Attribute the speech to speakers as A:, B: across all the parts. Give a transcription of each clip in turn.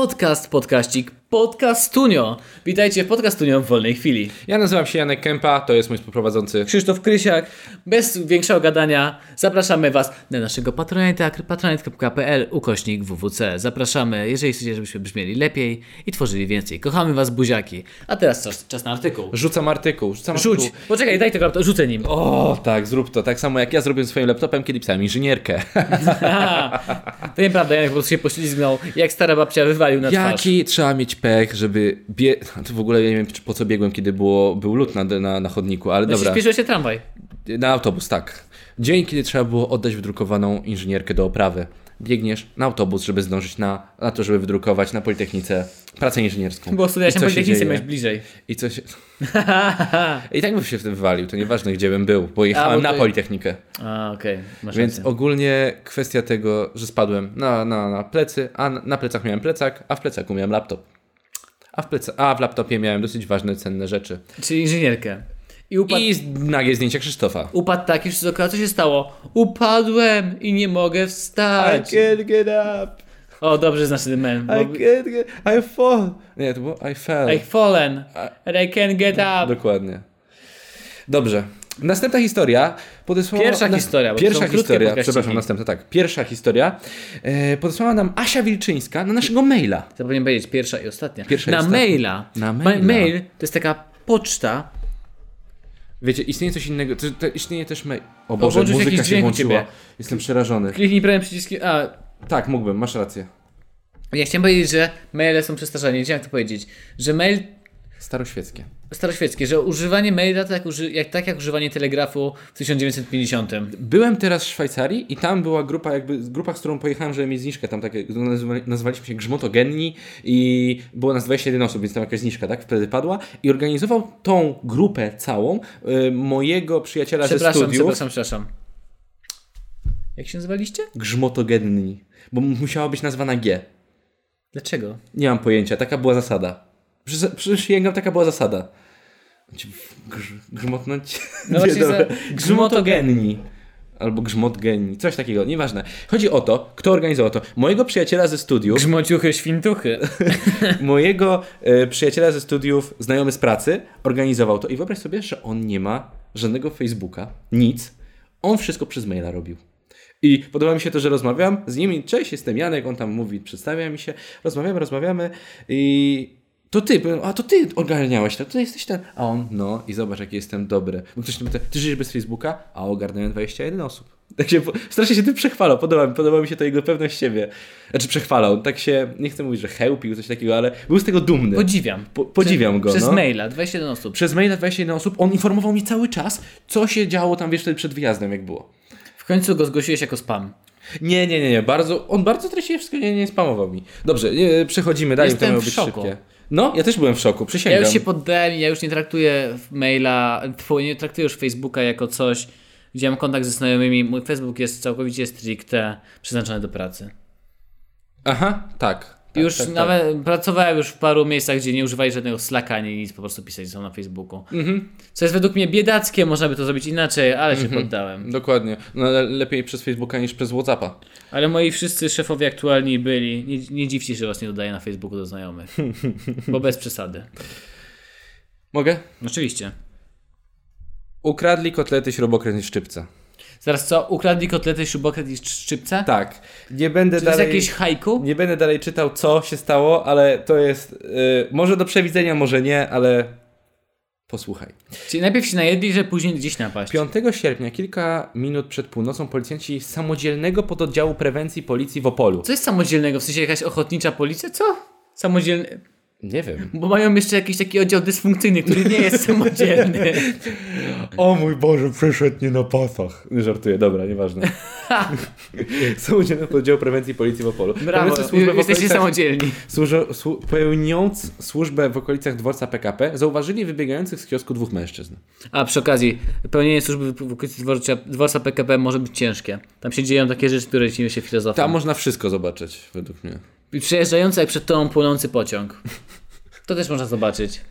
A: Podcast, podkaścik, podcastunio. Witajcie w podcastunio w wolnej chwili.
B: Ja nazywam się Janek Kępa, to jest mój współprowadzący.
A: Krzysztof Krysiak. Bez większego gadania zapraszamy Was na naszego patronata patronite.pl ukośnik wwc. Zapraszamy, jeżeli chcecie, żebyśmy brzmieli lepiej i tworzyli więcej. Kochamy Was, buziaki. A teraz czas, czas na artykuł.
B: Rzucam artykuł, rzucam
A: Rzuć.
B: artykuł.
A: Poczekaj, daj tego laptopa, rzucę nim.
B: O, tak, zrób to. Tak samo jak ja zrobiłem swoim laptopem, kiedy pisałem inżynierkę.
A: To nieprawda, Janek po prostu się poślizgnął, jak stara babcia wywalił na twarz.
B: Jaki trzeba mieć pech, żeby... Bie... To w ogóle nie wiem, czy- po co biegłem, kiedy było, był lód na, na, na chodniku, ale dobra.
A: Spieszył się tramwaj.
B: Na autobus, tak. Dzień, kiedy trzeba było oddać wydrukowaną inżynierkę do oprawy. Biegniesz na autobus, żeby zdążyć na, na to, żeby wydrukować na Politechnice pracę inżynierską.
A: Bo studia
B: I
A: się
B: co
A: politechnicy
B: dzieje?
A: miałeś bliżej.
B: I co się... I tak bym się w tym wywalił, to nieważne gdzie bym był, bo jechałem
A: bo to-
B: na Politechnikę.
A: A, okej, masz
B: Więc
A: rację.
B: ogólnie kwestia tego, że spadłem na, na, na plecy, a na- na plecach miałem plecak, a w plecaku miałem laptop. A w, pleca, a w laptopie miałem dosyć ważne, cenne rzeczy.
A: Czyli inżynierkę. I upadł,
B: I z- nagie zdjęcie Krzysztofa.
A: upadł tak już z co się stało? Upadłem i nie mogę wstać.
B: get up,
A: O, dobrze znasz ten mem. Bo...
B: can't get, I fall. Nie, to było I fell.
A: I've fallen and I can get up.
B: Dokładnie. Dobrze. Następna historia podesłała...
A: Pierwsza
B: na-
A: historia, bo to są
B: Pierwsza
A: krótkie
B: historia,
A: podcaściki.
B: przepraszam, następna, tak. Pierwsza historia e, podesłała nam Asia Wilczyńska na naszego maila.
A: Zapomniałem powiedzieć, pierwsza i ostatnia.
B: Pierwsza i
A: Na
B: ostatnia.
A: maila.
B: Na
A: Ma-
B: maila.
A: Mail to jest taka poczta.
B: Wiecie, istnieje coś innego, to, to istnieje też mail. O Boże,
A: włączył się
B: muzyka
A: jakiś
B: się
A: dźwięk u
B: włączyła.
A: ciebie.
B: Jestem przerażony.
A: Kliknij prawym przyciskiem. A,
B: Tak, mógłbym, masz rację.
A: ja chciałem powiedzieć, że maile są przestarzane. Nie wiem, jak to powiedzieć. Że mail
B: Staroświeckie.
A: staroświeckie, że używanie maila to jak, uży, jak, tak jak używanie telegrafu w 1950.
B: Byłem teraz w Szwajcarii i tam była grupa, jakby grupa, z którą pojechałem, żeby mieć zniżkę. Tam takie, nazywali- nazywaliśmy się Grzmotogenni i było nas 21 osób, więc tam jakaś zniżka, tak? Wtedy padła. I organizował tą grupę całą y, mojego przyjaciela ze
A: Przepraszam,
B: studiów.
A: przepraszam, przepraszam. Jak się nazywaliście?
B: Grzmotogenni. Bo m- musiała być nazwa na G.
A: Dlaczego?
B: Nie mam pojęęcia, taka była zasada. Przy- Przysięgam, taka była zasada. Ci Grz, grzmotnąć?
A: No
B: Nie,
A: właśnie,
B: dobra.
A: za-
B: Grzmotogenni. Albo grzmotgenni, coś takiego, nieważne. Chodzi o to, kto organizował to. Mojego przyjaciela ze studiów,
A: Grzmociuchy, świntuchy.
B: mojego e, przyjaciela ze studiów, znajomy z pracy, organizował to. I wyobraź sobie, że on nie ma żadnego Facebooka, nic. On wszystko przez maila robił. I podoba mi się to, że rozmawiam z nimi. Cześć, jestem Janek, on tam mówi, przedstawia mi się. Rozmawiamy, rozmawiamy i to ty, powiem, a to ty ogarniałeś to, to jesteś ten. A on, no i zobacz, jaki jestem dobry. Bo ktoś tam pyta, ty żyjesz bez Facebooka? A ogarnąłem 21 osób. Tak się, po- strasznie się tym przechwalał, podoba, mi- podoba mi się to jego pewność siebie. Znaczy przechwalał, tak się, nie chcę mówić, że chełpił, coś takiego, ale był z tego dumny.
A: Podziwiam.
B: Po, podziwiam go,
A: Przez
B: no.
A: maila, 21 osób.
B: Przez maila 21 osób, on informował mi cały czas, co się działo tam, wiesz, wtedy przed wyjazdem, jak było.
A: W końcu go zgłosiłeś jako spam.
B: Nie, nie, nie, nie, bardzo, on bardzo treściwie wszystko nie, nie spamował mi. Dobrze, nie, przechodzimy dalej, bo
A: Jestem
B: to miało
A: w
B: być
A: szoku.
B: szybkie. No, ja też byłem w szoku,
A: Ja
B: przysięgam.
A: już się poddałem i ja już nie traktuję maila, tfu, nie traktuję już Facebooka jako coś, gdzie mam kontakt ze znajomymi. Mój Facebook jest całkowicie stricte przeznaczony do pracy.
B: Aha, tak. tak
A: już
B: tak, tak.
A: nawet pracowałem już w paru miejscach, gdzie nie używali żadnego Slacka ani nic, po prostu pisali są na Facebooku.
B: Mhm.
A: Co jest według mnie biedackie, można by to zrobić inaczej, ale się poddałem.
B: Dokładnie. No, ale lepiej przez Facebooka niż przez Whatsappa.
A: Ale moi wszyscy szefowie aktualni byli. Nie, nie dziwcie się, że was nie dodaję na Facebooku do znajomych. Bo bez przesady.
B: Mogę?
A: Oczywiście.
B: Ukradli kotlety śrubokręt i szczypce.
A: Zaraz co? Ukradli kotlety, śrubokręt i szczypce?
B: Tak. Nie będę
A: Czy to jest
B: dalej...
A: jakieś haiku?
B: Nie będę dalej czytał, co się stało, ale to jest... y, może do przewidzenia, może nie, ale... Posłuchaj.
A: Czyli najpierw się najedli, że później gdzieś napaść.
B: 5 sierpnia, kilka minut przed północą, policjanci z samodzielnego pododdziału prewencji policji w Opolu.
A: Co jest samodzielnego? W sensie jakaś ochotnicza policja? Co? Samodzielny.
B: Nie wiem.
A: Bo mają jeszcze jakiś taki oddział dysfunkcyjny, który nie jest samodzielny.
B: O mój Boże, przyszedł nie na pasach. Żartuję, dobra, nieważne. Samodzielny pododdział prewencji policji w Opolu.
A: Brawo,
B: Pełniący służbę w
A: jesteście
B: okolicach-
A: samodzielni.
B: Służo, słu, pełniąc służbę w okolicach dworca PKP, zauważyli wybiegających z kiosku dwóch mężczyzn.
A: A przy okazji, pełnienie służby w okolicy dworca, dworca PKP może być ciężkie. Tam się dzieją takie rzeczy, które dzieją się w filozofii.
B: Tam można wszystko zobaczyć, według mnie.
A: I Przejeżdżający jak przed tobą płonący pociąg. To też można zobaczyć.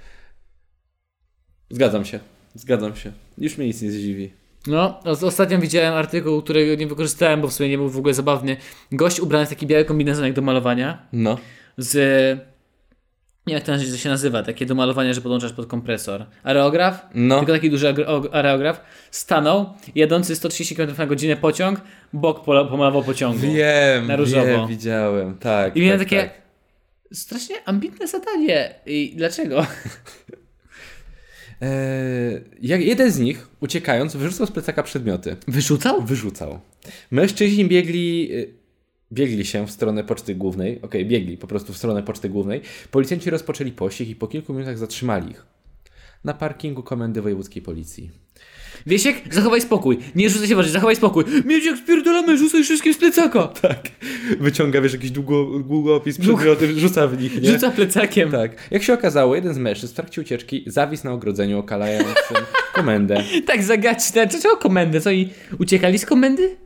B: Zgadzam się. Zgadzam się. Już mnie nic nie zdziwi.
A: No, o- ostatnio widziałem artykuł, którego nie wykorzystałem, bo w sumie nie był w ogóle zabawny. Gość ubrany w taki biały kombinezon jak do malowania.
B: No.
A: z. Nie wiem, jak to się nazywa, takie do malowania, że podłączasz pod kompresor. Areograf?
B: No.
A: Tylko taki duży agro- og- areograf. Stanął, jadący 130 km na godzinę pociąg, bok pola- pomalował pociągu.
B: Wiem,
A: Na różowo.
B: wiem, widziałem, tak.
A: I miałem
B: tak,
A: takie
B: Tak.
A: strasznie ambitne zadanie. I dlaczego?
B: Eee, jak jeden z nich, uciekając, wyrzucał z plecaka przedmioty.
A: Wyrzucał?
B: Wyrzucał. Mężczyźni biegli. y, Biegli się w stronę poczty głównej. Okej, biegli po prostu w stronę poczty głównej. Policjanci rozpoczęli pościg i po kilku minutach zatrzymali ich. Na parkingu komendy wojewódzkiej policji.
A: Wiesiek, zachowaj spokój. Nie rzucaj się bardziej, zachowaj spokój. Mieciek, spierdolamy, rzucaj wszystkim z plecaka.
B: Tak. Wyciąga, wiesz, jakiś długo, długopis, przedmioty, rzuca w nich,
A: Rzuca plecakiem.
B: Tak. Jak się okazało, jeden z mężczyzn w trakcie ucieczki zawisł na ogrodzeniu, okalając komendę.
A: Tak zagaczne. Co, czego komendę? Co i uciekali z komendy?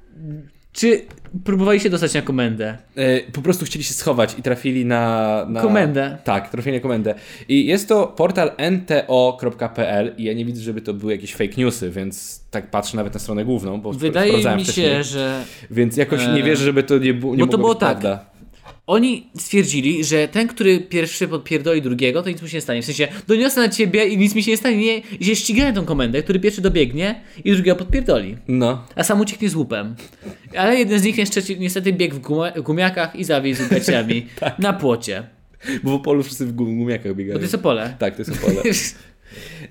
A: Czy próbowali się dostać na komendę?
B: E, po prostu chcieli się schować i trafili na, na...
A: Komendę.
B: Tak, trafili na komendę. I jest to portal nto.pl i ja nie widzę, żeby to były jakieś fake newsy, więc tak patrzę nawet na stronę główną, bo
A: Wydaje
B: sprawdzałem
A: mi
B: wcześniej.
A: się, że
B: Więc jakoś
A: Eee,
B: nie wierzę, żeby to nie, bu- nie
A: bo to
B: mogło
A: było
B: być
A: tak.
B: prawda.
A: oni stwierdzili, że ten, który pierwszy podpierdoli drugiego, to nic mu się nie stanie. W sensie, doniosę na ciebie i nic mi się nie stanie. Nie, i się ścigają tą komendę, który pierwszy dobiegnie i drugiego podpierdoli.
B: No.
A: A sam ucieknie z łupem. Ale jeden z nich niestety, niestety biegł w guma- gumiakach i zawisł gaciami
B: Tak.
A: na płocie.
B: Bo w polu wszyscy w gum- gumiakach biegają.
A: Bo to jest Opole.
B: Tak, to jest opole.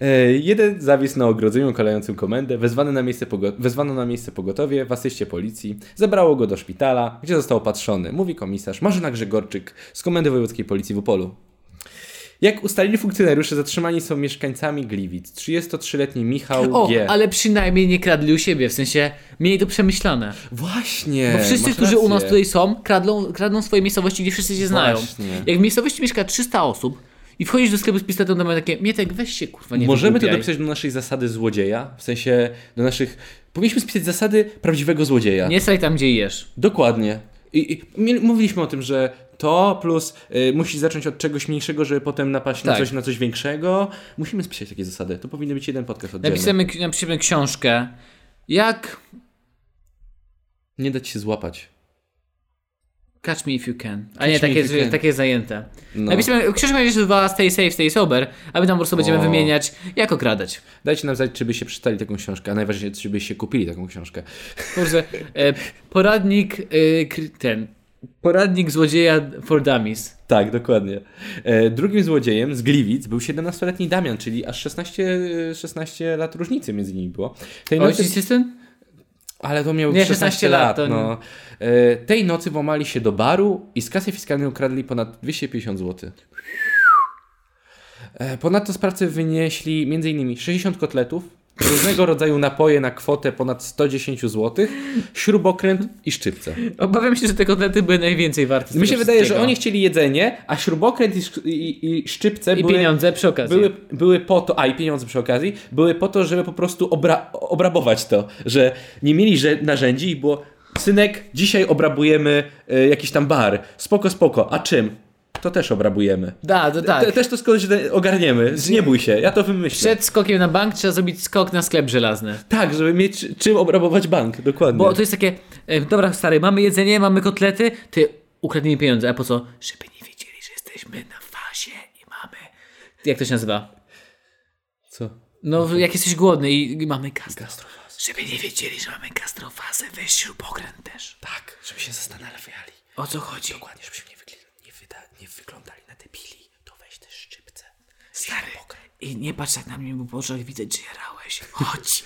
B: E, Jeden zawisł na ogrodzeniu kolejącym komendę, wezwany na miejsce pogo- wezwano na miejsce pogotowie w asyście policji, zabrało go do szpitala, gdzie został opatrzony, mówi komisarz Marzena Grzegorczyk z Komendy Wojewódzkiej Policji w Opolu. Jak ustalili funkcjonariusze, zatrzymani są mieszkańcami Gliwic. 33-letni Michał
A: O,
B: G.
A: ale przynajmniej nie kradli u siebie, w sensie mieli to przemyślane.
B: Właśnie!
A: Bo wszyscy,
B: E, masz
A: którzy u nas
B: rację.
A: tutaj są, kradną, kradną swoje miejscowości, gdzie wszyscy się znają.
B: Właśnie.
A: Jak w miejscowości mieszka 300 osób i wchodzisz do sklepu z pistoletem, to mają takie, Mietek, weź się, kurwa, nie
B: Możemy to
A: wygłupiaj.
B: dopisać do naszej zasady złodzieja, w sensie do naszych... Powinniśmy spisać zasady prawdziwego złodzieja.
A: Nie staj tam, gdzie jesz.
B: Dokładnie. I, i mieli- mówiliśmy o tym, że to plus y, musi zacząć od czegoś mniejszego, żeby potem napaść na,
A: Tak.
B: coś, na coś większego. Musimy spisać takie zasady. To powinien być jeden podcast oddzielny.
A: Napiszemy, napiszemy książkę, jak...
B: Nie dać się złapać.
A: Catch me if you can. A
B: me
A: nie, takie,
B: if you can.
A: takie jest zajęte.
B: No.
A: Napiszemy, książka będzie się nazywała Stay Safe, Stay Sober, a my tam po prostu będziemy
B: O.
A: wymieniać, jak okradać.
B: Dajcie nam znać, czy byście przeczytali taką książkę, a najważniejsze, czy byście kupili taką książkę.
A: Kurczę, e, poradnik, e, kry- ten, poradnik złodzieja for dummies.
B: Tak, dokładnie. E, drugim złodziejem z Gliwic był 17-letni Damian, czyli aż 16, e, 16 lat różnicy między nimi było. Tej nocy...
A: Ojciec jest ten?
B: Ale to miał
A: Nie,
B: 16,
A: 16
B: lat.
A: lat, to nie.
B: no. E, tej nocy włamali się do baru i z kasy fiskalnej ukradli ponad 250 zł. E, ponadto sprawcy wynieśli m.in. 60 kotletów, różnego rodzaju napoje na kwotę ponad 110 zł, śrubokręt i szczypce.
A: Obawiam się, że te kotlety były najwięcej warte. z
B: Mi
A: tego
B: się wydaje, że
A: wszystkiego.
B: oni chcieli jedzenie, a śrubokręt i, szk- i, i szczypce
A: I
B: były,
A: pieniądze przy okazji.
B: były, były po to, a i pieniądze przy okazji, były po to, żeby po prostu obra, obrabować to, że nie mieli że, narzędzi i było synek, dzisiaj obrabujemy e, jakiś tam bar, spoko, spoko, a czym? To też obrabujemy.
A: Da, to tak.
B: Te, też to skądś de- ogarniemy, nie bój się, ja to wymyślę.
A: Przed skokiem na bank trzeba zrobić skok na sklep żelazny.
B: Tak, żeby mieć czy- czym obrabować bank, dokładnie.
A: Bo to jest takie, e, dobra stary, mamy jedzenie, mamy kotlety, ty ukradnij mi pieniądze, a po co? Żeby nie wiedzieli, że jesteśmy na fazie i mamy... Jak to się nazywa?
B: Co?
A: No, jak jesteś głodny i i mamy gastro. Żeby nie wiedzieli, że mamy gastrofazę, weź śrubokręt też.
B: Tak, żeby się zastanawiali.
A: O co chodzi?
B: Dokładnie, żebyśmy nie, wygli- nie, wyda- nie wyglądali na debili, to weź też szczypce.
A: Stary, i nie patrz tak na mnie, bo po oczach widać, że jarałeś. Chodź,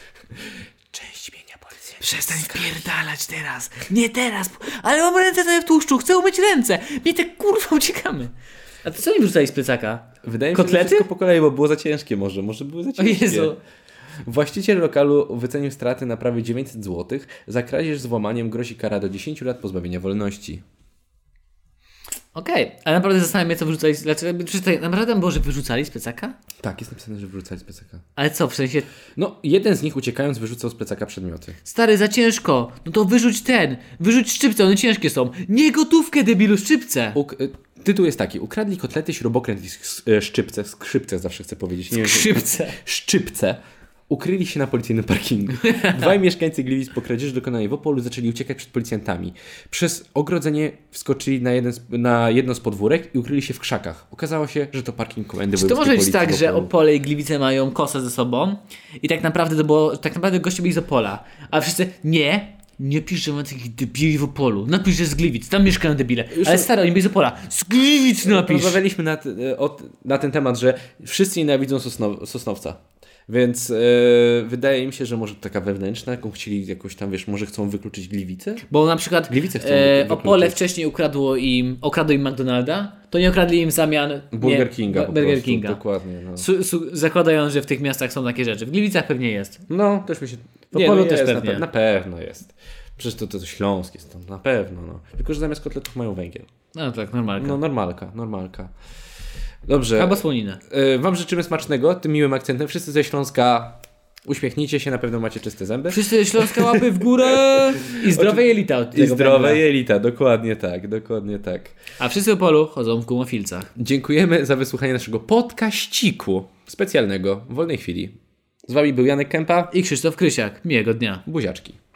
B: Część mienia policji.
A: przestań wpierdalać teraz. Nie teraz, ale mam ręce sobie w tłuszczu, chcę umyć ręce. Mnie te kurwa uciekamy. A to co oni wrzucali z plecaka?
B: Wydaje mi się, że
A: Kotlety?
B: wszystko po kolei, bo było za ciężkie może. Może były za
A: O
B: ciężkie.
A: Jezu.
B: Właściciel lokalu wycenił straty na prawie 900 zł. Za kradzież z włamaniem grozi kara do 10 lat pozbawienia wolności.
A: Okej, ale naprawdę zastanawiam się, co wrzucali. z- Dlaczego? Czy tak naprawdę było, że wyrzucali z plecaka?
B: Tak, jest napisane, że wyrzucali z plecaka.
A: Ale co, w sensie,
B: No, jeden z nich uciekając wyrzucał z plecaka przedmioty.
A: stary, za ciężko, no to wyrzuć ten, wyrzuć szczypce, one ciężkie są. Nie gotówkę, debilu, szczypce.
B: Uk- y, tytuł jest taki. Ukradli kotlety, śrubokręt i sk- y, szczypce. Skrzypce zawsze chcę powiedzieć. Nie wiem, czy-
A: Szczypce.
B: Szczypce. Ukryli się na policyjnym parkingu. Dwaj mieszkańcy Gliwic po kradzieży dokonanej w Opolu zaczęli uciekać przed policjantami. Przez ogrodzenie wskoczyli na, jeden z, na jedno z podwórek i ukryli się w krzakach. Okazało się, że to parking komendy
A: Czy to może
B: wojewódzkiej
A: być tak,
B: policji w
A: że
B: Opolu.
A: Opole i Gliwice mają kosę ze sobą i tak naprawdę to było, tak naprawdę goście byli z Opola, a wszyscy nie, nie pisz, że ma takich debili w Opolu, napisz, że z Gliwic, tam mieszkają debile, ale stary, oni byli z Opola, z Gliwic
B: No,
A: napisz!
B: Rozmawialiśmy na, t- o t- na ten temat, że wszyscy nienawidzą Sosnow- Sosnowca. Więc e, wydaje mi się, że może taka wewnętrzna, jaką chcieli jakoś tam, wiesz, może chcą wykluczyć Gliwice?
A: Bo na przykład
B: Gliwice chcą
A: e,
B: wykluczyć.
A: Opole wcześniej ukradło im, okradło im McDonalda, to nie okradli im w zamian
B: Burger
A: nie,
B: Kinga po
A: Burger
B: prostu,
A: Kinga.
B: dokładnie. No.
A: Su, su, zakładając, że w tych miastach są takie rzeczy. W Gliwicach pewnie jest.
B: no, też mi się...
A: W Opolu
B: no
A: też
B: jest,
A: pewnie.
B: Na, pe- na pewno jest. Przecież to, to, to Śląsk jest, to na pewno, no. Tylko, że zamiast kotletów mają węgiel.
A: No tak, normalnie.
B: No, normalka, normalka. Dobrze.
A: Albo słoninę.
B: E, wam życzymy smacznego, tym miłym akcentem. Wszyscy ze Śląska uśmiechnijcie się, na pewno macie czyste zęby.
A: Wszyscy Śląska łapy w górę i zdrowe jelita od tego
B: I zdrowe
A: węgla.
B: jelita, dokładnie tak, dokładnie tak.
A: A wszyscy w polu chodzą w gumofilcach.
B: Dziękujemy za wysłuchanie naszego podkaściku specjalnego w wolnej chwili. Z wami był Janek Kępa,
A: I Krzysztof Krysiak. Miłego dnia.
B: buziaczki.